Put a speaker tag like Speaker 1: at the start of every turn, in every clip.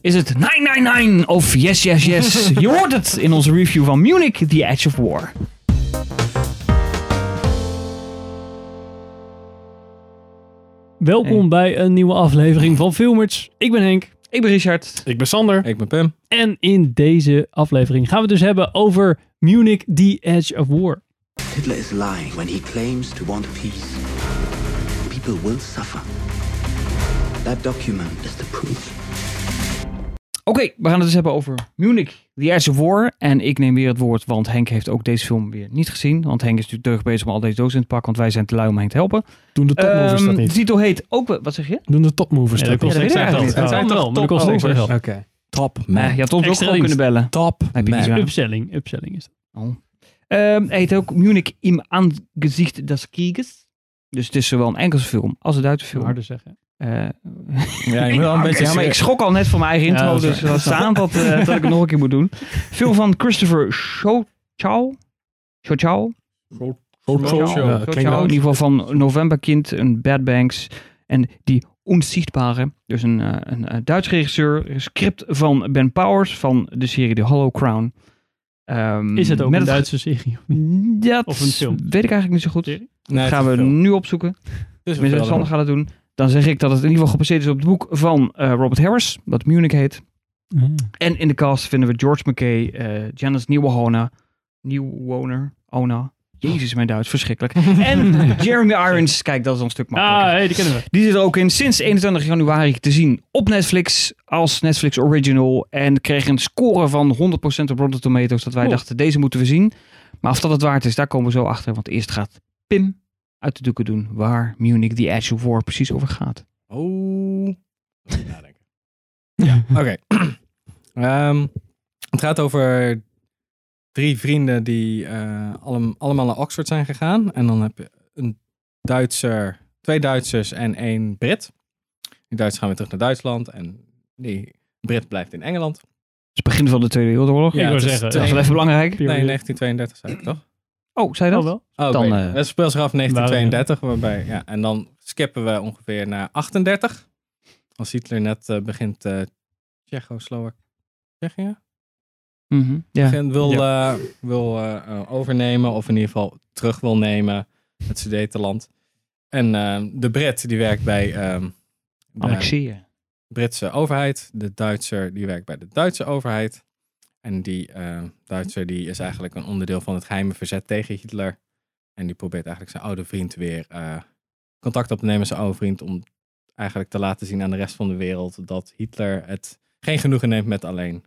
Speaker 1: Is het 999 of Yes Yes Yes? Je hoort het in onze review van Munich, The Edge of War.
Speaker 2: Welkom
Speaker 1: Hey.
Speaker 2: bij een nieuwe aflevering van Filmers. Ik ben Henk.
Speaker 1: Ik ben Richard.
Speaker 3: Ik ben Sander.
Speaker 4: Ik ben Pim.
Speaker 2: En in deze aflevering gaan we het dus hebben over Munich, The Edge of War.
Speaker 5: Hitler is lying when he claims to want peace. People will suffer. That document is the proof.
Speaker 1: Oké, we gaan het dus hebben over Munich, The Edge of War. En ik neem weer het woord, want Henk heeft ook deze film weer niet gezien. Want Henk is natuurlijk deugd bezig om al deze dozen in te pakken, want wij zijn te lui om Henk te helpen.
Speaker 3: Doen de topmovers dat
Speaker 1: Ehm,
Speaker 3: niet?
Speaker 1: de titel heet ook... wel- Wat zeg je?
Speaker 3: Doen de topmovers
Speaker 2: Ja,
Speaker 3: dat
Speaker 2: dat
Speaker 3: niet?
Speaker 2: kost
Speaker 1: Ja,
Speaker 2: niks
Speaker 1: dat weet ik
Speaker 2: geld.
Speaker 1: eigenlijk
Speaker 2: Dat
Speaker 4: niet.
Speaker 2: zijn wel, maar dat kost niks
Speaker 4: topmodels.
Speaker 2: geld.
Speaker 3: Oké.
Speaker 4: Top
Speaker 1: Nee, je had ons ook
Speaker 2: Extra
Speaker 1: gewoon
Speaker 2: dienst.
Speaker 1: kunnen bellen.
Speaker 4: Top
Speaker 1: Heb je niet gedaan.
Speaker 2: Upselling, upselling is dat.
Speaker 1: Ehm, hij heet ook Munich im Angesicht des Krieges. Dus het is zowel een Engelse film als een Duitse
Speaker 2: Veel
Speaker 1: film.
Speaker 2: harder zeggen.
Speaker 1: Eh,
Speaker 4: Ja, ik moet wel een beetje...
Speaker 1: ja, maar ik schrok al net van mijn eigen
Speaker 2: Ja,
Speaker 1: intro,
Speaker 2: dat is
Speaker 1: dus laat staan dat, eh, dat ik het nog een keer moet doen. Film van Christopher Chow. Chow.
Speaker 4: Social.
Speaker 3: Ja,
Speaker 1: In
Speaker 3: klinkt wel-
Speaker 1: ieder geval van Novemberkind, een Bad Banks en Die Onzichtbare. Dus een, eh, een eh, Duits regisseur. Een script van Ben Powers van de serie The Hollow Crown. Ehm,
Speaker 2: Is het ook
Speaker 1: met
Speaker 2: een
Speaker 1: het
Speaker 2: Duitse serie?
Speaker 1: Dat
Speaker 2: Of een film?
Speaker 1: weet ik eigenlijk niet zo goed.
Speaker 2: Serie?
Speaker 4: Nee, het
Speaker 1: gaan
Speaker 4: is
Speaker 1: we
Speaker 4: een film.
Speaker 1: nu opzoeken.
Speaker 4: Het is een
Speaker 1: Tenminste,
Speaker 4: film.
Speaker 1: Sander gaat het doen. Dan zeg ik dat het in ieder geval gebaseerd is op het boek van eh, Robert Harris, wat Munich heet. Eh,
Speaker 2: Ah,
Speaker 1: En in de cast vinden we George McKay, eh Janice Nieuwenhona, Nieuwwoner, Ona. Jezus, mijn Duits, verschrikkelijk. En Jeremy Irons, kijk, dat is al een stuk makkelijker.
Speaker 2: Ah, hey, die kennen we.
Speaker 1: Die zit er ook in sinds 21 januari te zien op Netflix als Netflix Original. En kreeg een score van 100% op Rotten Tomatoes. Dat wij
Speaker 2: Cool.
Speaker 1: dachten, deze moeten we zien. Maar of dat het waard is, daar komen we zo achter. Want eerst gaat Pim uit de doeken doen waar Munich The Edge of War precies over gaat.
Speaker 4: Oh. Even nadenken. ja, oké. Ehm, het gaat over drie vrienden die eh, allem- allemaal naar Oxford zijn gegaan. En dan heb je een Duitser, twee Duitsers en één Brit. Die Duitsers gaan weer terug naar Duitsland en die Brit blijft in Engeland.
Speaker 1: Het is het begin van de Tweede Wereldoorlog.
Speaker 2: ik
Speaker 4: Ja,
Speaker 2: wou
Speaker 4: het is
Speaker 2: zeggen.
Speaker 1: Dat is
Speaker 4: twee-
Speaker 1: wel even belangrijk.
Speaker 4: Nee,
Speaker 2: period.
Speaker 4: 1932 zei ik toch?
Speaker 1: Oh, zei je
Speaker 2: Oh,
Speaker 1: dat?
Speaker 2: wel.
Speaker 4: Oh,
Speaker 1: Dan,
Speaker 4: dan,
Speaker 1: eh,
Speaker 4: het speelt zich af in
Speaker 2: waren-
Speaker 4: 1932, waarbij, ja, en dan skippen we ongeveer naar 38. Als Hitler net eh, begint eh Tsjechoslowak. Tsjechië?
Speaker 1: Mhm, ja.
Speaker 4: Begin- wil eh, wil eh, eh, overnemen, of in ieder geval terug wil nemen, het Sudetenland. En eh, de Brit, die werkt bij ehm, de
Speaker 1: Annexeren.
Speaker 4: Britse overheid. De Duitser, die werkt bij de Duitse overheid. En die eh, Duitser, die is eigenlijk een onderdeel van het geheime verzet tegen Hitler. En die probeert eigenlijk zijn oude vriend weer eh, contact op te nemen met zijn oude vriend. Om eigenlijk te laten zien aan de rest van de wereld dat Hitler het geen genoegen neemt met alleen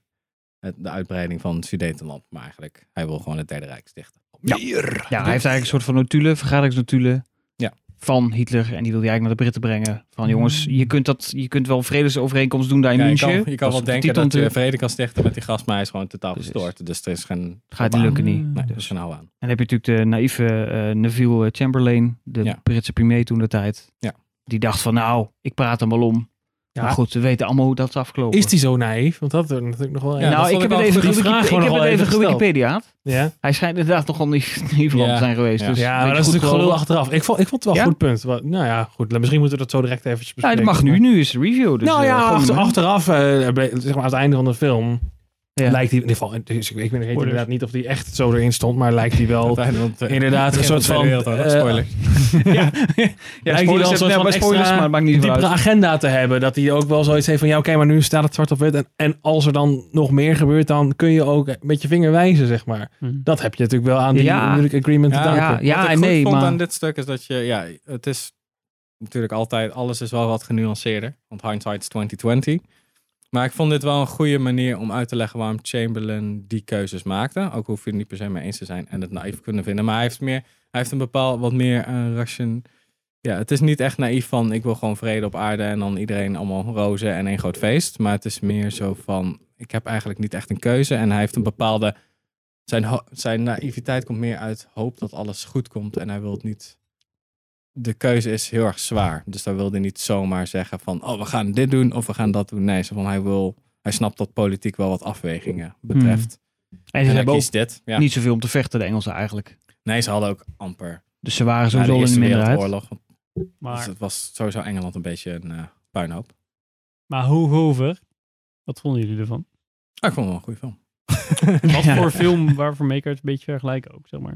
Speaker 4: het, de uitbreiding van het Sudetenland. Maar eigenlijk, hij wil gewoon het Derde Rijk stichten.
Speaker 1: Ja. Ja, hij heeft eigenlijk een soort van notulen, vergaderingsnotulen.
Speaker 4: Ja. Mm.
Speaker 1: Van Hitler. En die wil hij eigenlijk naar de Britten brengen. Van jongens, je kunt, dat, je kunt wel vredesovereenkomst doen daar in
Speaker 4: Ja, je
Speaker 1: München.
Speaker 4: kan, je kan
Speaker 1: Dat
Speaker 4: wel
Speaker 1: is de
Speaker 4: denken
Speaker 1: titel
Speaker 4: dat eh, je
Speaker 1: natuurlijk.
Speaker 4: vrede kan stichten met die gast, maar hij is gewoon totaal
Speaker 1: Precies.
Speaker 4: gestoord. Dus er is geen...
Speaker 1: Gaat niet lukken niet.
Speaker 2: Ah.
Speaker 4: Nee,
Speaker 1: Dus.
Speaker 4: dus van nou aan.
Speaker 1: En dan heb je natuurlijk de naïeve eh, Neville Chamberlain, de
Speaker 4: Ja.
Speaker 1: Britse premier toen de tijd.
Speaker 4: Ja.
Speaker 1: Die dacht van nou, ik praat hem wel om.
Speaker 3: Ja.
Speaker 1: Maar goed, we weten allemaal hoe dat is afgelopen.
Speaker 3: Is die zo naïef? Want dat wordt natuurlijk nog wel...
Speaker 4: Ja,
Speaker 3: Ja.
Speaker 4: dat
Speaker 1: nou, ik
Speaker 4: vond
Speaker 1: heb
Speaker 4: ik
Speaker 1: het even,
Speaker 4: wel
Speaker 3: goed. Die
Speaker 1: gewiki-
Speaker 3: vraag
Speaker 1: ik
Speaker 3: gewoon
Speaker 1: heb
Speaker 3: al
Speaker 1: het even
Speaker 3: even gesteld.
Speaker 1: gewikipediaat.
Speaker 3: Ja.
Speaker 1: Hij schijnt inderdaad nogal niet niet verwant
Speaker 4: Ja.
Speaker 1: te zijn geweest.
Speaker 4: Ja.
Speaker 1: Dus
Speaker 3: Ja,
Speaker 1: weet
Speaker 3: maar
Speaker 1: je
Speaker 3: dat is
Speaker 1: goed
Speaker 3: natuurlijk
Speaker 1: wel-
Speaker 3: gelul achteraf. Ik vond, ik vond het wel
Speaker 1: Ja?
Speaker 3: een goed punt. Wat- nou ja, goed. Misschien moeten we dat zo direct even bespreken.
Speaker 1: Nou, dat mag nu. Nu is de review. Dus,
Speaker 3: nou
Speaker 1: eh,
Speaker 3: ja,
Speaker 1: gewoon
Speaker 3: achter-
Speaker 1: doen.
Speaker 3: achteraf, eh, ble- zeg maar aan het einde van de film,
Speaker 1: Ja.
Speaker 3: lijkt hij in ieder geval, dus ik, ik weet
Speaker 2: Spoilers.
Speaker 3: inderdaad niet of die echt zo erin stond, maar lijkt hij wel.
Speaker 4: Inderdaad,
Speaker 3: een soort van, eh,
Speaker 4: Spoiler.
Speaker 3: ja,
Speaker 1: Ja,
Speaker 3: lijkt hij wel een soort van
Speaker 1: spoilers, maar
Speaker 3: extra
Speaker 1: het maakt niet
Speaker 3: diepere
Speaker 1: uit.
Speaker 3: agenda te hebben. Dat hij ook wel zoiets heeft van, ja oké, maar nu staat het zwart op wit. En, en als er dan nog meer gebeurt, dan kun je ook met je vinger wijzen, zeg maar.
Speaker 2: Hm.
Speaker 3: Dat heb je natuurlijk wel aan die
Speaker 1: Ja.
Speaker 3: Munich agreement te
Speaker 4: Ja,
Speaker 3: danken.
Speaker 1: Ja, ja
Speaker 4: Wat ik
Speaker 1: en
Speaker 4: goed
Speaker 1: nee,
Speaker 4: vond
Speaker 1: maar...
Speaker 4: aan dit stuk is dat je, ja, het is natuurlijk altijd, alles is wel wat genuanceerder. Want hindsight is 2020. Maar ik vond dit wel een goede manier om uit te leggen waarom Chamberlain die keuzes maakte. Ook hoef je het niet per se mee eens te zijn en het naïef kunnen vinden. Maar hij heeft, meer, hij heeft een bepaald wat meer eh ration. Ja, het is niet echt naïef van ik wil gewoon vrede op aarde en dan iedereen allemaal rozen en één groot feest. Maar het is meer zo van ik heb eigenlijk niet echt een keuze. En hij heeft een bepaalde. Zijn, ho- zijn naïviteit komt meer uit hoop dat alles goed komt en hij wil het niet. De keuze is heel erg zwaar. Dus daar wilde hij niet zomaar zeggen van oh we gaan dit doen of we gaan dat doen. Nee, zo van, hij wil. Hij snapt dat politiek wel wat afwegingen betreft.
Speaker 1: Hmm. En ze
Speaker 4: En hij
Speaker 1: hebben ook
Speaker 4: kiest dit. Ja.
Speaker 1: niet zoveel om te vechten, de Engelsen eigenlijk.
Speaker 4: Nee, ze hadden ook amper
Speaker 1: Dus ze waren
Speaker 4: na
Speaker 1: sowieso
Speaker 4: de
Speaker 1: in de
Speaker 4: Eerste
Speaker 1: minderheid.
Speaker 4: Wereldoorlog. want
Speaker 2: Maar,
Speaker 4: het was sowieso Engeland een beetje een eh, puinhoop.
Speaker 2: maar hoe hoever? Wat vonden jullie ervan?
Speaker 4: Ah, ik vond het wel een goede film.
Speaker 2: Wat
Speaker 1: Ja.
Speaker 2: voor film waarvoor Maker het een beetje vergelijken ook, zeg maar.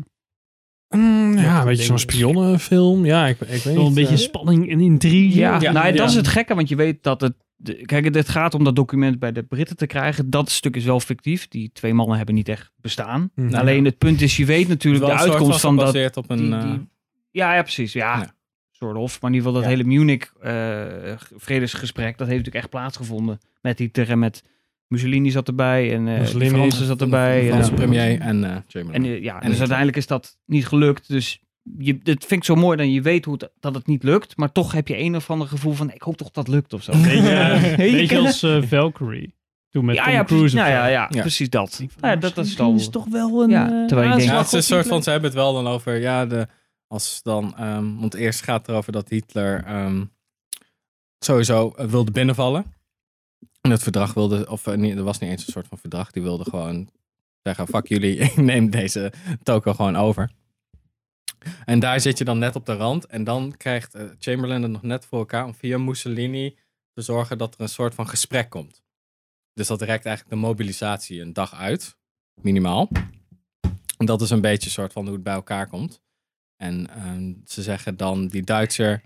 Speaker 3: Mm, ja,
Speaker 2: Ja,
Speaker 3: een beetje zo'n
Speaker 2: denk ik.
Speaker 3: spionnenfilm. Ja, ik, ik weet
Speaker 2: Wel
Speaker 3: niet.
Speaker 2: een beetje
Speaker 3: eh,
Speaker 2: spanning en intrigue.
Speaker 1: Ja,
Speaker 3: Ja,
Speaker 1: nou, ja,
Speaker 3: ja.
Speaker 1: dat is het gekke, want je weet dat het. de- Kijk, het- het gaat om dat document bij de Britten te krijgen. Dat stuk is wel fictief. Die twee mannen hebben niet echt bestaan.
Speaker 3: Mhm.
Speaker 4: Nou,
Speaker 1: Alleen het punt is, je weet natuurlijk
Speaker 4: Wel
Speaker 1: de
Speaker 4: een soort
Speaker 1: uitkomst van dat.
Speaker 4: gebaseerd op een...
Speaker 1: die-
Speaker 4: eh,
Speaker 1: die- ja, ja, precies. Ja,
Speaker 4: Ja.
Speaker 1: soort of. Maar in ieder geval dat
Speaker 4: Ja.
Speaker 1: hele Munich eh, vredesgesprek, dat heeft natuurlijk echt plaatsgevonden. Met Hitler en met Mussolini zat erbij en eh de
Speaker 3: Mussolini,
Speaker 1: Fransen zat erbij.
Speaker 4: de
Speaker 1: en-
Speaker 4: Franse
Speaker 1: ja.
Speaker 4: premier en eh Chamberlain.
Speaker 1: En eh, ja,
Speaker 4: En
Speaker 1: dus
Speaker 4: ik-
Speaker 1: uiteindelijk is dat niet gelukt. Dus je, dat vind ik zo mooi dan je weet hoe het- dat het niet lukt. Maar toch heb je een of ander gevoel van ik hoop toch dat lukt of zo.
Speaker 2: Beetje, eh,
Speaker 1: Hey, je
Speaker 2: beetje
Speaker 1: kent
Speaker 2: als eh, Valkyrie. Toen met
Speaker 1: ja,
Speaker 2: Tom
Speaker 1: ja, precies,
Speaker 2: Cruise.
Speaker 1: ja,
Speaker 2: of zo.
Speaker 1: ja, ja,
Speaker 4: Ja.
Speaker 1: precies dat.
Speaker 2: Ik vond,
Speaker 1: Ja, dat, dat is
Speaker 2: misschien
Speaker 1: toch.
Speaker 2: toch wel een...
Speaker 1: Ja,
Speaker 2: eh,
Speaker 1: terwijl je denkt-
Speaker 2: aanslag
Speaker 4: ja, het is een
Speaker 2: op
Speaker 4: soort van,
Speaker 2: Hitler.
Speaker 4: ze hebben het wel dan over, ja, de, als dan, ehm, want eerst gaat het erover dat Hitler ehm, sowieso eh, wilde binnenvallen. En het verdrag wilde, of eh, niet, er was niet eens een soort van verdrag, die wilde gewoon zeggen, fuck jullie, ik neem deze toko gewoon over. En daar zit je dan net op de rand. En dan krijgt eh, Chamberlain het nog net voor elkaar om via Mussolini te zorgen dat er een soort van gesprek komt. Dus dat rekt eigenlijk de mobilisatie een dag uit, minimaal. En dat is een beetje een soort van hoe het bij elkaar komt. En ehm, ze zeggen dan, die Duitser,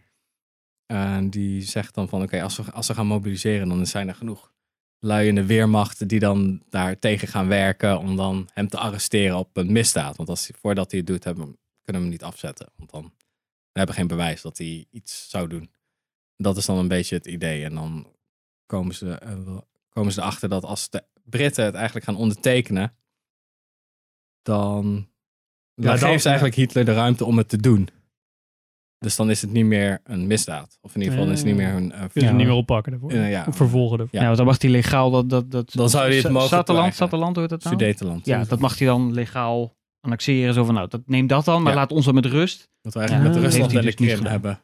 Speaker 4: eh, die zegt dan van oké, als, we, als ze gaan mobiliseren, dan zijn er genoeg lui in de weermacht die dan daar tegen gaan werken om dan hem te arresteren op een misdaad. Want als, hij- voordat hij het doet, hebben, we hem- kunnen we hem niet afzetten. Want dan we hebben we geen bewijs dat hij iets zou doen. Dat is dan een beetje het idee. En dan komen ze, eh, wel- komen ze erachter dat als de Britten het eigenlijk gaan ondertekenen, dan, ja, dan
Speaker 3: dan-
Speaker 4: geeft ze eigenlijk Hitler de ruimte om het te doen. Dus dan is het niet meer een misdaad. Of in ieder geval dan is het niet meer hun... eh,
Speaker 2: Kunnen ze
Speaker 1: Ja.
Speaker 2: niet meer oppakken daarvoor.
Speaker 4: Ja, Eh, ja.
Speaker 2: Of vervolgen daarvoor.
Speaker 4: Ja.
Speaker 1: Ja, want dan mag hij legaal dat... dat, dat
Speaker 4: Dan zou hij het
Speaker 1: Sa-
Speaker 4: mogen
Speaker 1: Satelland,
Speaker 4: krijgen.
Speaker 1: Sateland hoort dat nou?
Speaker 4: Sudetenland.
Speaker 1: Ja, dat mag hij dan legaal annexeren. Zo van, nou, dat, neem dat dan, maar
Speaker 4: Ja.
Speaker 1: laat ons dan met rust.
Speaker 4: Wat we eigenlijk
Speaker 2: Ah.
Speaker 4: met Rusland en
Speaker 1: Heeft
Speaker 4: de
Speaker 1: hij dus niet
Speaker 4: Krim hebben.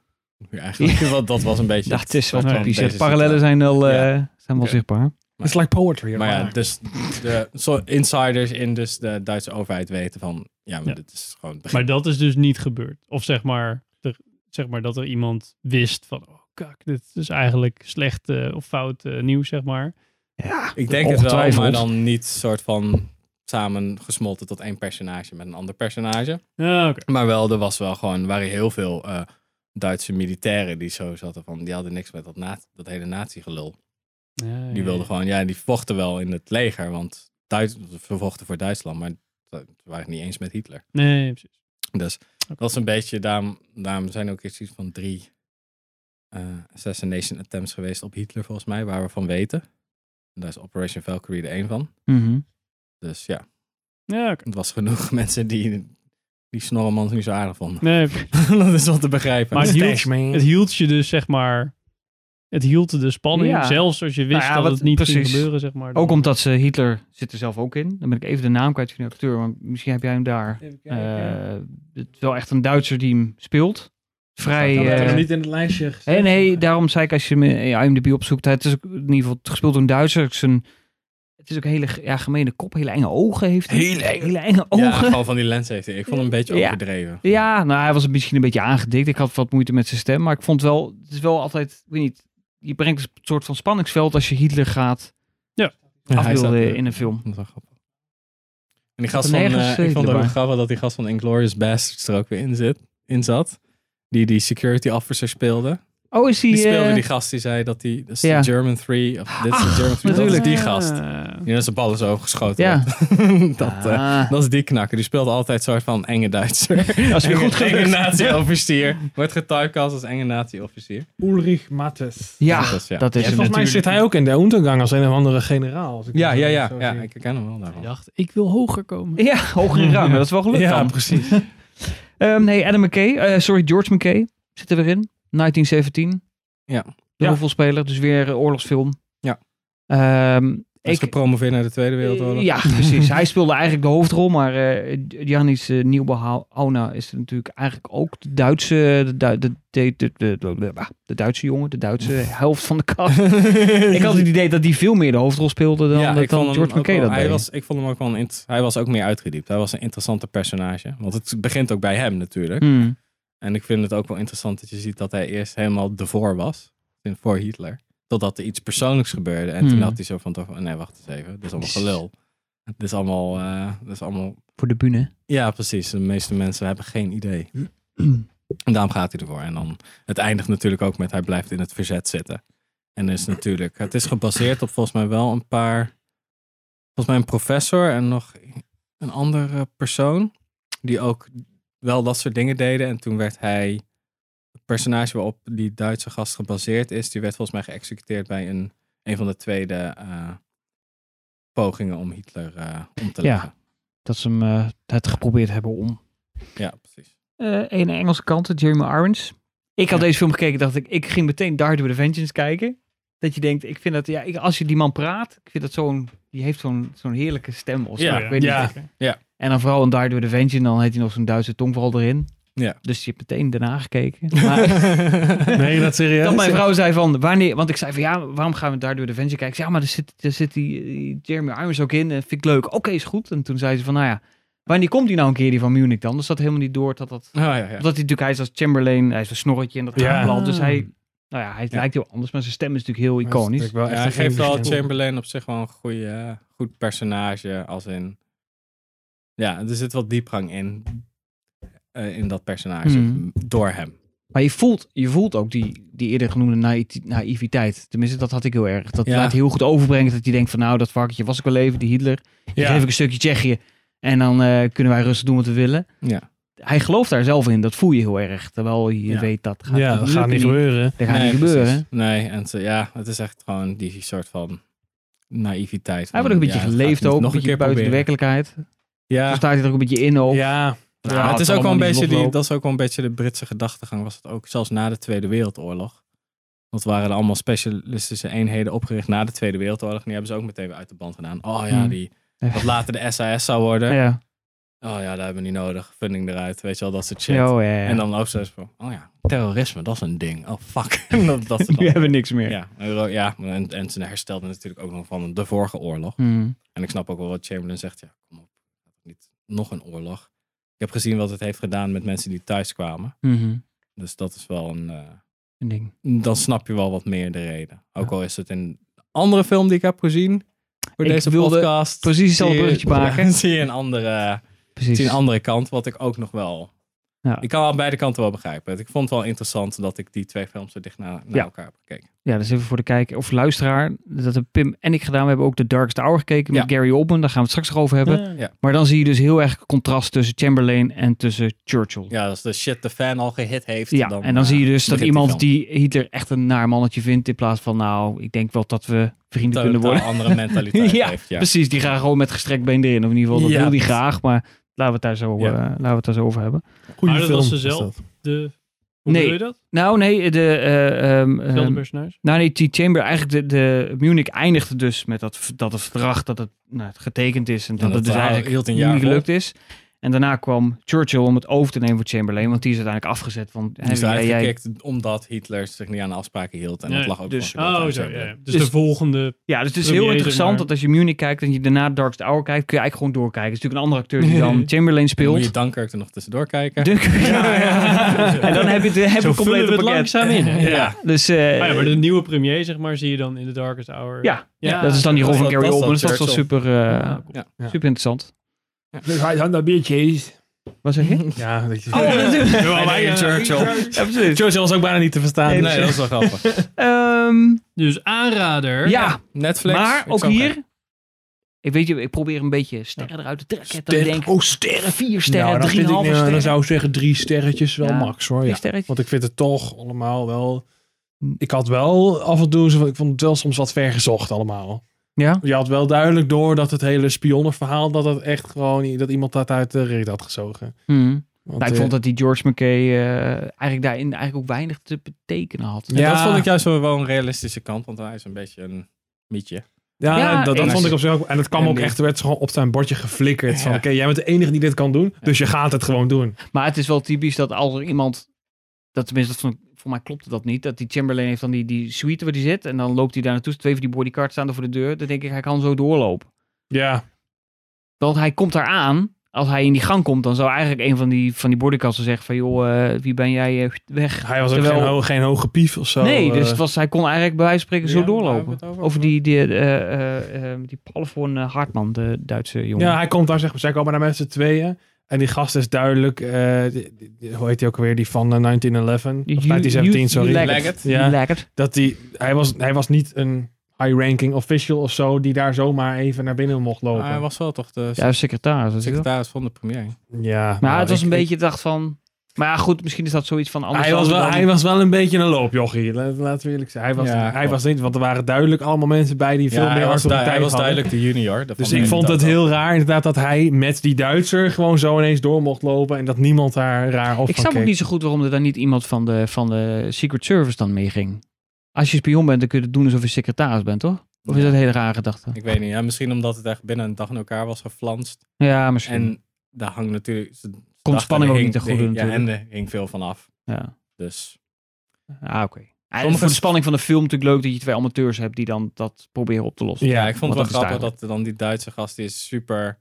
Speaker 4: Nu eigenlijk. Want dat was een beetje...
Speaker 1: Dat is wel
Speaker 4: wat
Speaker 2: typisch.
Speaker 4: van deze
Speaker 1: typisch. Parallellen zijn wel, eh,
Speaker 4: Ja.
Speaker 1: zijn wel
Speaker 4: Oké.
Speaker 1: zichtbaar.
Speaker 3: It's like poetry.
Speaker 4: Maar ja,
Speaker 3: hoor.
Speaker 4: dus de zo- insiders in dus de Duitse overheid weten van... Ja, maar
Speaker 2: Ja.
Speaker 4: dit is gewoon... het begin.
Speaker 2: Maar dat is dus niet gebeurd. Of zeg maar, er, zeg maar dat er iemand wist van... Oh, kak, dit is eigenlijk slecht eh, of fout eh, nieuws, zeg maar.
Speaker 1: Ja,
Speaker 4: Ik denk het wel, maar
Speaker 1: ongetwijfeld.
Speaker 4: dan niet soort van samen gesmolten tot één personage met een ander personage.
Speaker 2: Ja, oké.
Speaker 4: Maar wel, er was wel gewoon, waren heel veel eh, Duitse militairen die zo zaten van, die hadden niks met dat, na- dat hele natiegelul.
Speaker 2: Ja, ja,
Speaker 4: Die wilden
Speaker 2: ja.
Speaker 4: gewoon, ja, die vochten wel in het leger, want Duits, ze vochten voor Duitsland, maar ze waren het niet eens met Hitler.
Speaker 2: Nee, precies.
Speaker 4: Dus dat is een beetje, daarom, daarom zijn ook iets van drie eh, assassination attempts geweest op Hitler volgens mij, waar we van weten. En daar is Operation Valkyrie er één van.
Speaker 1: Mhm.
Speaker 4: Dus ja,
Speaker 2: Ja, oké.
Speaker 4: het was genoeg mensen die die Snorremans niet zo aardig vonden.
Speaker 2: Nee, precies.
Speaker 4: dat is wel te begrijpen.
Speaker 2: Maar het hield,
Speaker 3: Stash, man.
Speaker 2: het hield je dus, zeg maar... Het hield de spanning,
Speaker 1: Ja.
Speaker 2: zelfs als je wist
Speaker 1: Nou ja,
Speaker 2: dat
Speaker 1: wat-
Speaker 2: het niet ging
Speaker 1: precies.
Speaker 2: gebeuren, zeg maar.
Speaker 1: Ook
Speaker 2: Dan-
Speaker 1: omdat ze Hitler zit er zelf ook in. Dan ben ik even de naam kwijt van de acteur, maar misschien heb jij hem daar. Eh, het is wel echt een Duitser die hem speelt. Vrij.
Speaker 3: Ik had het
Speaker 1: eh,
Speaker 3: nog niet in het lijstje
Speaker 1: nee,
Speaker 3: gezet.
Speaker 1: nee, daarom zei ik als je hem in IMDb opzoekt, het is ook in ieder geval gespeeld door een Duitser. Zijn, het is ook een hele ge- ja, gemene kop, hele enge ogen heeft hij.
Speaker 4: Hele enge-
Speaker 1: hele enge
Speaker 4: Ja,
Speaker 1: ogen. Ja.
Speaker 4: gewoon van die lens heeft hij. Ik vond hem een beetje
Speaker 1: Ja.
Speaker 4: overdreven.
Speaker 1: nou hij was een- misschien een beetje aangedikt. Ik had wat moeite met zijn stem, maar ik vond wel, het is wel altijd, ik weet niet, je brengt een soort van spanningsveld als je Hitler gaat
Speaker 4: Ja, hij
Speaker 1: afbeelden
Speaker 4: zat-
Speaker 1: in een film.
Speaker 4: Dat is wel grappig. En die gast
Speaker 1: er
Speaker 4: van,
Speaker 1: nergens
Speaker 4: eh, ik
Speaker 1: zeden,
Speaker 4: vond het ook
Speaker 1: maar-
Speaker 4: grappig dat die gast van Inglourious Bastards er ook weer in, zit, in zat. Die die security officer speelde.
Speaker 1: Oh, is hij...
Speaker 4: Die speelde
Speaker 1: eh,
Speaker 4: die gast die zei dat die, dat is
Speaker 1: Ja.
Speaker 4: de German 3, of dit is de
Speaker 1: Ach,
Speaker 4: German 3. Dat is
Speaker 1: natuurlijk.
Speaker 4: die gast.
Speaker 1: Eh,
Speaker 2: Ah.
Speaker 4: Die met zijn bal is overgeschoten.
Speaker 1: Ja.
Speaker 4: wordt. dat, eh,
Speaker 1: Ah.
Speaker 4: dat is die knakker. Die speelt altijd soort van enge Duitser.
Speaker 1: Als je
Speaker 4: Enge-
Speaker 1: goed gelukt.
Speaker 4: Enge nazi-officier. Wordt getypecast als enge nazi-officier.
Speaker 3: Ulrich Mattes.
Speaker 1: Ja,
Speaker 4: Dat is, ja.
Speaker 1: dat is
Speaker 4: Ja,
Speaker 1: hem
Speaker 3: Volgens mij zit
Speaker 1: natuurlijk.
Speaker 3: hij ook in de Untergang als een of andere generaal. als ik
Speaker 4: Ja,
Speaker 3: het
Speaker 4: ja,
Speaker 3: zo
Speaker 4: ja.
Speaker 3: zie.
Speaker 4: ja ik ken hem wel
Speaker 2: Ik
Speaker 4: daarvan.
Speaker 2: dacht, ik wil hoger komen.
Speaker 1: Ja, hoger in ruim. Dat is wel gelukt
Speaker 4: Ja,
Speaker 1: dan.
Speaker 4: precies.
Speaker 1: Ehm, nee, Adam McKay. eh, sorry, George McKay zit er weer in. 1917.
Speaker 4: Ja.
Speaker 1: De
Speaker 3: Ja.
Speaker 1: hoofdrolspeler, dus weer eh, oorlogsfilm.
Speaker 4: Ja.
Speaker 1: Ehm,
Speaker 4: Hij
Speaker 1: ik,
Speaker 4: is gepromoveerd naar de Tweede Wereldoorlog.
Speaker 1: ja, precies. hij speelde eigenlijk de hoofdrol, maar eh Janis uh, Nieuwbouwhauna is natuurlijk eigenlijk ook de Duitse, de, Du- de, de, de, de, de- de Duitse jongen, de Duitse helft van de kast. ik had het idee dat die veel meer de hoofdrol speelde dan,
Speaker 4: Ja,
Speaker 1: dat
Speaker 4: ik vond hem
Speaker 1: George
Speaker 4: ook
Speaker 1: McKay
Speaker 4: wel-
Speaker 1: dat
Speaker 4: hij
Speaker 1: deed.
Speaker 4: was, Ik vond hem ook wel een int- hij was ook meer uitgediept. Hij was een interessante personage. Want het begint ook bij hem natuurlijk.
Speaker 1: Hmm.
Speaker 4: En ik vind het ook wel interessant dat je ziet dat hij eerst helemaal de voor was. in- Voor Hitler. Totdat er iets persoonlijks gebeurde. En toen
Speaker 1: Hmm.
Speaker 4: had hij zo van, toch van, nee, wacht eens even. Dit is allemaal gelul. Dit is allemaal, eh, dit is allemaal...
Speaker 1: Voor de bühne.
Speaker 4: Ja, precies. De meeste mensen hebben geen idee. En daarom gaat hij ervoor. En dan, het eindigt natuurlijk ook met, hij blijft in het verzet zitten. En is natuurlijk, het is gebaseerd op volgens mij wel een paar... Volgens mij een professor en nog een andere persoon. Die ook wel dat soort dingen deden. En toen werd hij, het personage waarop die Duitse gast gebaseerd is, die werd volgens mij geëxecuteerd bij een, een van de tweede eh, pogingen om Hitler eh, om te
Speaker 1: Ja.
Speaker 4: leggen.
Speaker 1: Dat ze hem eh, het geprobeerd hebben om
Speaker 4: Ja, precies.
Speaker 1: eh een Engelse kant, Jeremy Irons. Ik had
Speaker 4: Ja.
Speaker 1: deze film gekeken, dacht ik, ik ging meteen Dardo the Vengeance kijken. Dat je denkt, ik vind dat, ja, ik, als je die man praat, ik vind dat zo'n, die heeft zo'n zo'n heerlijke stem. Of zo,
Speaker 4: Ja,
Speaker 1: ik weet
Speaker 2: ja.
Speaker 1: niet.
Speaker 2: Zeker.
Speaker 1: En dan vooral in Dardo the Vengeance, dan heeft hij nog zo'n Duitse tongval erin.
Speaker 4: Ja.
Speaker 1: Dus je hebt meteen daarna gekeken. Maar
Speaker 3: Meen je dat serieus?
Speaker 1: dat mijn vrouw zei van, wanneer, want ik zei van, ja, waarom gaan we Dardo the Vengeance kijken? Ik zei, ja, maar er zit, er zit die, eh, Jeremy Irons ook in, en vind ik leuk. Oké, is goed. En toen zei ze van, nou ja, wanneer komt die nou een keer, die van Munich dan? Dus dat helemaal niet door dat dat
Speaker 4: Oh, ja, ja.
Speaker 1: omdat hij natuurlijk, hij is als Chamberlain, hij is een snorretje en dat
Speaker 3: Ja.
Speaker 1: ja. Dus hij, nou ja, hij
Speaker 4: Ja.
Speaker 1: lijkt heel anders, maar zijn stem is natuurlijk heel iconisch.
Speaker 4: Ja, hij geeft wel Chamberlain op zich wel een goede, eh, goed personage. Als in. Ja, er zit wat diepgang in. eh, in dat personage.
Speaker 1: Hmm.
Speaker 4: Door hem.
Speaker 1: Maar je voelt, je voelt ook die, die eerder genoemde naï- naïviteit. Tenminste, dat had ik heel erg. Dat
Speaker 4: Ja.
Speaker 1: laat hij heel goed overbrengen. Dat je denkt van, nou, dat varkentje was ik wel even, die Hitler. Die
Speaker 2: Ja.
Speaker 1: geef ik een stukje Tsjechië. En dan eh, kunnen wij rustig doen wat we willen.
Speaker 4: Ja.
Speaker 1: Hij gelooft daar zelf in. Dat voel je heel erg. Terwijl je
Speaker 4: Ja.
Speaker 1: weet, dat gaat,
Speaker 2: Ja, dat gaat
Speaker 1: lukken
Speaker 2: niet gebeuren.
Speaker 1: Dat gaat
Speaker 4: Nee,
Speaker 1: niet
Speaker 4: precies.
Speaker 1: gebeuren.
Speaker 4: Nee, en ze- ja, het is echt gewoon die soort van naïviteit.
Speaker 1: Hij
Speaker 4: van,
Speaker 1: wordt ook een beetje
Speaker 4: ja, het gaat
Speaker 1: geleefd
Speaker 4: niet
Speaker 1: ook.
Speaker 4: nog
Speaker 1: een beetje
Speaker 4: keer
Speaker 1: buiten de
Speaker 4: proberen.
Speaker 1: werkelijkheid.
Speaker 4: Ja,
Speaker 1: Zo staat hij er ook een beetje in ook.
Speaker 3: Ja,
Speaker 4: maar
Speaker 1: Nou,
Speaker 4: het is
Speaker 1: kan
Speaker 4: ook wel
Speaker 1: allemaal
Speaker 4: een
Speaker 1: niet
Speaker 4: beetje die,
Speaker 1: vlotlopen.
Speaker 4: dat is ook wel een beetje de Britse gedachtegang. Was het ook zelfs na de Tweede Wereldoorlog. Want er waren er allemaal specialistische eenheden opgericht na de Tweede Wereldoorlog. En die hebben ze ook meteen weer uit de band gedaan. Oh ja,
Speaker 1: Hmm.
Speaker 4: die, wat later de SAS zou worden.
Speaker 1: Ja.
Speaker 4: Oh ja, daar hebben we niet nodig. Funding eruit, weet je wel, dat soort shit.
Speaker 1: Ja, oh, ja, ja.
Speaker 4: En dan ook zo eens van, oh ja, terrorisme, dat is een ding. Oh fuck. dat, dat is het
Speaker 1: Nu
Speaker 4: dan.
Speaker 1: hebben we niks meer.
Speaker 4: ja, euro- ja, en, en ze herstelde natuurlijk ook nog van de vorige oorlog.
Speaker 1: Hmm.
Speaker 4: En ik snap ook wel wat Chamberlain zegt. Ja, kom op, niet nog een oorlog. Ik heb gezien wat het heeft gedaan met mensen die thuis kwamen.
Speaker 1: Mhm.
Speaker 4: Dus dat is wel een... eh,
Speaker 1: Een ding.
Speaker 4: dan snap je wel wat meer de reden. Ook al is het een andere film die ik heb gezien. Voor
Speaker 1: Ik
Speaker 4: deze
Speaker 1: wilde
Speaker 4: podcast.
Speaker 1: precies hetzelfde
Speaker 4: zie je-
Speaker 1: bruggetje maken.
Speaker 4: ja, zie je een andere...
Speaker 1: Precies.
Speaker 4: zie een andere kant, wat ik ook nog wel.
Speaker 1: Ja.
Speaker 4: Ik kan aan beide kanten wel begrijpen. Ik vond het wel interessant dat ik die twee films zo dicht na, naar
Speaker 1: Ja.
Speaker 4: elkaar heb gekeken.
Speaker 1: Ja, dus even voor de kijker of luisteraar. Dat hebben Pim en ik gedaan. We hebben ook The Darkest Hour gekeken met Gary Oldman. Daar gaan we het straks nog over hebben. Maar dan zie je dus heel erg contrast tussen Chamberlain en tussen Churchill. Ja,
Speaker 4: Ja, als de shit de fan al gehit heeft. dan,
Speaker 1: en dan
Speaker 4: eh,
Speaker 1: zie je dus dat
Speaker 4: begint
Speaker 1: iemand
Speaker 4: film.
Speaker 1: die Hitler echt een naar mannetje vindt. In plaats van, nou, ik denk wel dat we vrienden kunnen
Speaker 4: Totaal
Speaker 1: worden.
Speaker 4: andere mentaliteit
Speaker 1: Ja,
Speaker 4: heeft. Ja,
Speaker 1: Precies, die gaan gewoon met gestrekt been erin. Of in ieder geval, dat
Speaker 4: Ja,
Speaker 1: wil die
Speaker 4: precies.
Speaker 1: graag. Maar laten we het daar zo,
Speaker 4: Ja.
Speaker 1: eh, laten we het daar zo over hebben.
Speaker 3: goede
Speaker 2: Maar dat
Speaker 3: film.
Speaker 2: was ze zelf. De, hoe
Speaker 1: Nee.
Speaker 2: bedoel je dat?
Speaker 1: Nou, nee, de... eh, ehm, ehm,
Speaker 2: Zelfde personage?
Speaker 1: Nou nee, die Chamber, eigenlijk de, de Munich eindigde dus met dat, v- dat het verdrag dat het, nou, het getekend is en dat,
Speaker 4: dat
Speaker 1: het dus
Speaker 4: verhaal
Speaker 1: eigenlijk
Speaker 4: hield een
Speaker 1: niet
Speaker 4: jaar vol.
Speaker 1: gelukt is. En daarna kwam Churchill om het over te nemen voor Chamberlain, want die is uiteindelijk afgezet. Want
Speaker 4: Die is
Speaker 1: hè, jij-
Speaker 4: eruit
Speaker 1: jij-
Speaker 4: gekikt omdat Hitler zich niet aan de afspraken hield. En
Speaker 2: Nee,
Speaker 4: dat lag ook
Speaker 1: dus-
Speaker 4: wel schuld
Speaker 2: Oh,
Speaker 4: aan
Speaker 2: zo. Ja,
Speaker 4: Chamberlain.
Speaker 2: ja. Dus,
Speaker 1: Dus-
Speaker 2: de volgende.
Speaker 1: ja, dus het is
Speaker 2: premier,
Speaker 1: heel
Speaker 2: zeg
Speaker 1: interessant
Speaker 2: maar.
Speaker 1: dat als je Munich kijkt en je daarna Darkest Hour kijkt, kun je eigenlijk gewoon doorkijken. Het is natuurlijk een andere acteur die dan Chamberlain
Speaker 4: Dan Moet
Speaker 1: speelt.
Speaker 4: je Dunkirk er nog tussendoor kijken?
Speaker 1: Dunk- en dan heb je het, heb je het
Speaker 2: Zo vullen
Speaker 1: complete
Speaker 2: we het
Speaker 1: pakket.
Speaker 2: langzaam in. hè?
Speaker 4: Ja.
Speaker 1: Dus eh,
Speaker 2: Ah ja, maar de nieuwe premier, zeg maar, zie je dan in The Darkest Hour.
Speaker 1: ja,
Speaker 2: Ja,
Speaker 1: dat is dan die rol
Speaker 4: dat
Speaker 1: van
Speaker 4: is wel-
Speaker 1: Gary
Speaker 4: dat is
Speaker 1: Oldman. Dus
Speaker 4: wel
Speaker 1: dat is wel super, eh,
Speaker 2: Ja, cool.
Speaker 1: super interessant.
Speaker 3: Dus Hij had dat biertje.
Speaker 1: Wat zeg je?
Speaker 3: Ja, dat je...
Speaker 1: Oh, natuurlijk.
Speaker 2: Ja, maar, eh,
Speaker 4: Churchill.
Speaker 1: Ja, precies.
Speaker 3: Churchill was ook bijna niet te verstaan.
Speaker 4: Nee, dat is wel grappig.
Speaker 1: Ehm,
Speaker 2: Dus aanrader.
Speaker 1: ja,
Speaker 4: Netflix.
Speaker 1: maar
Speaker 4: ik
Speaker 1: ook
Speaker 4: zag
Speaker 1: hier. Ik weet je, ik probeer een beetje sterren eruit te trekken. dat ik denk,
Speaker 3: oh, sterren.
Speaker 1: vier sterren,
Speaker 3: nou, dan
Speaker 1: drie
Speaker 3: vind ik,
Speaker 1: halve
Speaker 3: nou,
Speaker 1: sterren.
Speaker 3: dan zou ik zeggen drie sterretjes wel
Speaker 1: Ja.
Speaker 3: max hoor.
Speaker 1: Drie
Speaker 3: Ja. Mm.
Speaker 1: sterretjes.
Speaker 3: Want ik vind het toch allemaal wel...
Speaker 1: Hm.
Speaker 3: Ik had wel af en toe... zo van- Ik vond het wel soms wat vergezocht allemaal.
Speaker 1: Ja,
Speaker 3: Je had wel duidelijk door dat het hele spionnenverhaal... dat het echt gewoon... dat iemand dat uit de reet had gezogen.
Speaker 1: Hmm.
Speaker 3: Want,
Speaker 1: Nou, ik
Speaker 3: eh,
Speaker 1: vond dat die George McKay eh, eigenlijk daarin eigenlijk ook weinig te betekenen had.
Speaker 4: En
Speaker 3: Ja.
Speaker 4: Dat vond ik juist wel een realistische kant, want hij is een beetje een mietje.
Speaker 3: Ja,
Speaker 1: Ja,
Speaker 3: dat, dat
Speaker 1: eens.
Speaker 3: vond ik op zich ook. En dat kwam
Speaker 4: En
Speaker 3: ook
Speaker 1: eh,
Speaker 4: die-
Speaker 3: echt, er werd gewoon op zijn bordje geflikkerd. Van
Speaker 4: Ja.
Speaker 3: oké, jij bent de enige die dit kan doen, dus je gaat het gewoon doen.
Speaker 1: Maar het is wel typisch dat als er iemand, dat tenminste, dat vond ik- voor mij klopte dat niet, dat die Chamberlain heeft dan die, die suite waar die zit en dan loopt hij daar naartoe. Twee van die bodycards staan er voor de deur. Dan denk ik, hij kan zo doorlopen.
Speaker 3: Ja,
Speaker 1: Want hij komt daar aan. als hij in die gang komt, dan zou eigenlijk een van die, van die boardingkasten zeggen van... joh, eh, wie ben jij? eh, weg.
Speaker 3: Hij was ook
Speaker 1: Terwijl-
Speaker 3: geen, ho- geen hoge pief of zo.
Speaker 1: nee, dus
Speaker 3: eh.
Speaker 1: het was, hij kon eigenlijk bij wijze van spreken zo
Speaker 4: Ja, waar hebben we
Speaker 1: doorlopen.
Speaker 4: het over?
Speaker 1: Over die, die, eh, eh, eh, die Paul van eh, Hartman, de Duitse jongen.
Speaker 3: Ja, hij komt daar, zeg maar. Zij komen daar met z'n tweeën. En die gast is duidelijk, eh, die- die- die- hoe heet hij ook weer, die van eh, 1911? Of
Speaker 1: You-
Speaker 3: 1917,
Speaker 1: you-
Speaker 3: sorry.
Speaker 1: you
Speaker 4: Leg
Speaker 1: like
Speaker 4: het.
Speaker 1: it. You
Speaker 3: Ja.
Speaker 1: like it.
Speaker 3: dat die, hij, was, hij was niet een high-ranking official of zo, die daar zomaar even naar binnen mocht lopen.
Speaker 4: Maar hij was wel toch de
Speaker 1: Ja, hij is secretaris. natuurlijk.
Speaker 4: secretaris Nou, van de premier.
Speaker 3: ja, nou,
Speaker 1: Maar het was
Speaker 3: ik-
Speaker 1: een
Speaker 3: ik-
Speaker 1: beetje, dacht van... Maar ja, goed, misschien is dat zoiets van anders.
Speaker 3: Hij was,
Speaker 1: dan-
Speaker 3: wel, hij was wel een beetje een loopjochie, la- laten we eerlijk zijn. Hij was,
Speaker 4: Ja,
Speaker 3: hij
Speaker 4: klopt.
Speaker 3: was niet, want er waren duidelijk allemaal mensen bij die veel
Speaker 4: Ja,
Speaker 3: meer
Speaker 4: hij, was, du-
Speaker 3: autoriteit
Speaker 4: hij was
Speaker 3: hadden.
Speaker 4: duidelijk de junior. Dat
Speaker 3: Dus
Speaker 4: vond
Speaker 3: ik vond het
Speaker 4: ook
Speaker 3: heel raar inderdaad dat hij met die Duitser gewoon zo ineens door mocht lopen en dat niemand daar raar op
Speaker 1: Ik
Speaker 3: van
Speaker 1: snap ook
Speaker 3: keek.
Speaker 1: niet zo goed waarom er dan niet iemand van de, van de Secret Service dan mee ging. Als je spion bent, dan kun je het doen alsof je secretaris bent, toch? Of is dat een hele rare gedachte?
Speaker 4: Ik weet niet. Ja, misschien omdat het echt binnen een dag in elkaar was geflanst.
Speaker 1: Ja, misschien.
Speaker 4: En daar hangt natuurlijk... ze- ze
Speaker 1: Komt
Speaker 4: dachten,
Speaker 1: spanning
Speaker 4: er
Speaker 1: ook
Speaker 4: hing-
Speaker 1: niet te
Speaker 4: er
Speaker 1: goed
Speaker 4: hing-
Speaker 1: doen,
Speaker 4: Ja, en
Speaker 1: natuurlijk.
Speaker 4: er hing veel van af.
Speaker 1: Ja,
Speaker 4: Dus
Speaker 1: ah, oké. Ja,
Speaker 4: Sommige-
Speaker 1: voor de spanning van de film natuurlijk leuk dat je twee amateurs hebt die dan dat proberen op te lossen.
Speaker 4: ja,
Speaker 3: Ja,
Speaker 4: ik
Speaker 1: want
Speaker 4: vond het
Speaker 1: dat
Speaker 4: wel
Speaker 1: is
Speaker 4: grappig dat dan die Duitse gast die is super...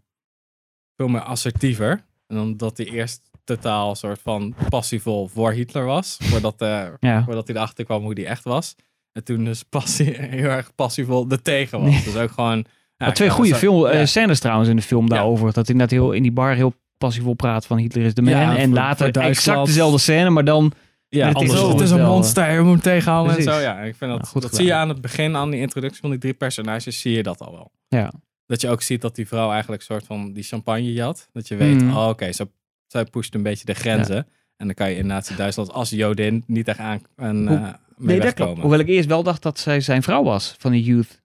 Speaker 4: Veel meer assertiever. En dan dat hij eerst totaal soort van passievol voor Hitler was. Voordat, eh
Speaker 1: Ja.
Speaker 4: voordat hij erachter kwam hoe die echt was. En toen dus passie, heel erg passievol er tegen was.
Speaker 1: Nee.
Speaker 4: Dus ook gewoon... ja,
Speaker 1: Maar
Speaker 4: ik
Speaker 1: twee
Speaker 4: zou-
Speaker 1: goede
Speaker 4: zou-
Speaker 1: film, eh,
Speaker 4: ja.
Speaker 1: scènes trouwens in de film daarover. Dat hij net heel in die bar heel passievol praat van Hitler is de man.
Speaker 4: Ja,
Speaker 1: en
Speaker 4: voor-
Speaker 1: later
Speaker 4: voor Duitsland.
Speaker 1: exact dezelfde scène, maar dan...
Speaker 4: Ja,
Speaker 1: Met het
Speaker 4: het, is,
Speaker 1: is-
Speaker 4: het is een
Speaker 1: wel, eh,
Speaker 4: monster, je moet hem tegenhouden
Speaker 1: precies.
Speaker 4: en zo. Ja, ik vind dat,
Speaker 1: Ja, goed
Speaker 4: dat
Speaker 1: gedaan.
Speaker 4: zie je aan het begin, aan die introductie van die drie personages, zie je dat al wel.
Speaker 1: Ja.
Speaker 4: Dat je ook ziet dat die vrouw eigenlijk soort van die champagne jat. Dat je weet,
Speaker 1: Mm.
Speaker 4: oh, oké, ze- zij pusht een beetje de grenzen. En dan kan je in nazi Duitsland als Jodin niet echt aan en,
Speaker 1: Hoe-
Speaker 4: eh, mee wegkomen.
Speaker 1: Hoewel ik eerst wel dacht dat zij zijn vrouw was van die youth.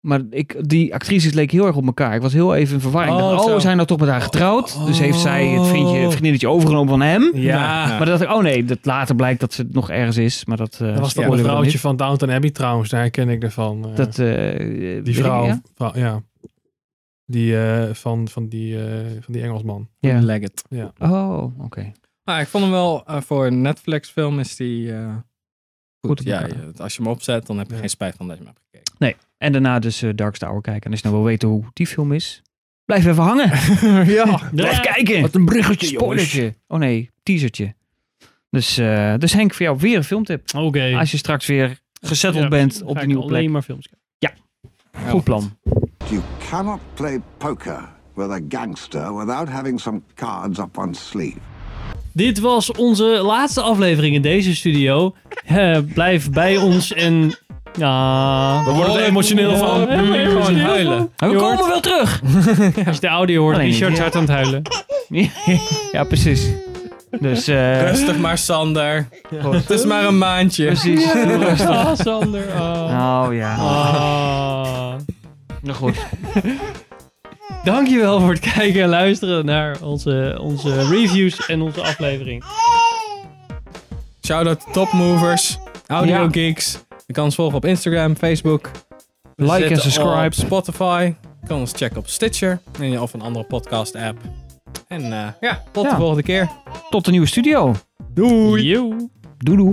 Speaker 1: Maar ik, die actrices leek heel erg op elkaar. Ik was heel even in verwarring.
Speaker 4: Oh,
Speaker 1: Oh, dacht,
Speaker 4: zo.
Speaker 1: oh we zijn nou toch met haar getrouwd? Dus heeft zij het vriendje,
Speaker 4: Oh.
Speaker 1: het vriendinnetje overgenomen van hem?
Speaker 3: Ja,
Speaker 1: Maar dan dacht ik, oh nee, dat later blijkt dat ze nog ergens is. Maar dat, eh,
Speaker 3: dat was dat
Speaker 1: spoilen we dan
Speaker 3: vrouwtje
Speaker 1: niet.
Speaker 3: van Downton Abbey trouwens, daar ken ik ervan. eh.
Speaker 1: Dat, eh, weet
Speaker 3: Die
Speaker 1: ik,
Speaker 3: vrouw,
Speaker 1: ja?
Speaker 3: vrouw- ja. Die eh, van, van, die, eh, van die Engelsman.
Speaker 1: Ja.
Speaker 4: Leggett.
Speaker 1: Oh, oké.
Speaker 4: Nou, ik vond hem wel, eh, voor een Netflix film is die... eh, goed,
Speaker 1: Goed op
Speaker 4: ja,
Speaker 1: elkaar.
Speaker 4: je- als je hem opzet, dan heb je
Speaker 3: Ja.
Speaker 4: geen spijt van dat je hem hebt gekeken.
Speaker 1: En daarna dus eh, Dark Tower kijken. En als je nou wil weten hoe die film is, blijf even hangen.
Speaker 3: ja.
Speaker 1: Blijf kijken.
Speaker 3: een bruggetje,
Speaker 1: Spoilertje. Oh nee, teasertje. Dus, eh, dus Henk, voor jou weer een filmtip.
Speaker 2: Oké.
Speaker 1: Als je straks weer gezetteld
Speaker 2: Ja,
Speaker 1: bent
Speaker 2: ga
Speaker 1: op
Speaker 2: ik
Speaker 1: die nieuwe
Speaker 2: Alleen
Speaker 1: plek.
Speaker 2: maar films kijken.
Speaker 1: Goed plan.
Speaker 6: You cannot play poker with a gangster without having some cards up one's sleeve.
Speaker 2: Dit was onze laatste aflevering in deze studio. Eh, blijf bij ons en... Ja.
Speaker 3: We worden er emotioneel van.
Speaker 2: Ja,
Speaker 3: We willen gewoon
Speaker 2: emotioneel
Speaker 3: huilen.
Speaker 1: Maar Nou, we komen wel terug.
Speaker 2: Als je de audio hoort,
Speaker 1: Alleen niet.
Speaker 2: Richard is hard aan het huilen.
Speaker 1: ja, precies. Dus, eh,
Speaker 4: Rustig maar, Sander. Het is maar een maandje.
Speaker 1: precies.
Speaker 2: Ah, Sander. ah.
Speaker 1: Oh ja.
Speaker 2: Ah.
Speaker 1: Nou goed.
Speaker 2: Dankjewel voor het kijken en luisteren naar onze, onze reviews en onze aflevering.
Speaker 4: Shout-out to topmovers, audio
Speaker 1: Ja.
Speaker 4: geeks. Je kan ons volgen op Instagram, Facebook. We
Speaker 1: Like en
Speaker 4: zitten
Speaker 1: subscribe.
Speaker 4: op Spotify. Je kan ons checken op Stitcher en je- of een andere podcast app. En eh, ja, tot
Speaker 1: Ja.
Speaker 4: de volgende keer.
Speaker 1: Tot de nieuwe studio.
Speaker 2: Doei.
Speaker 1: Doei doei.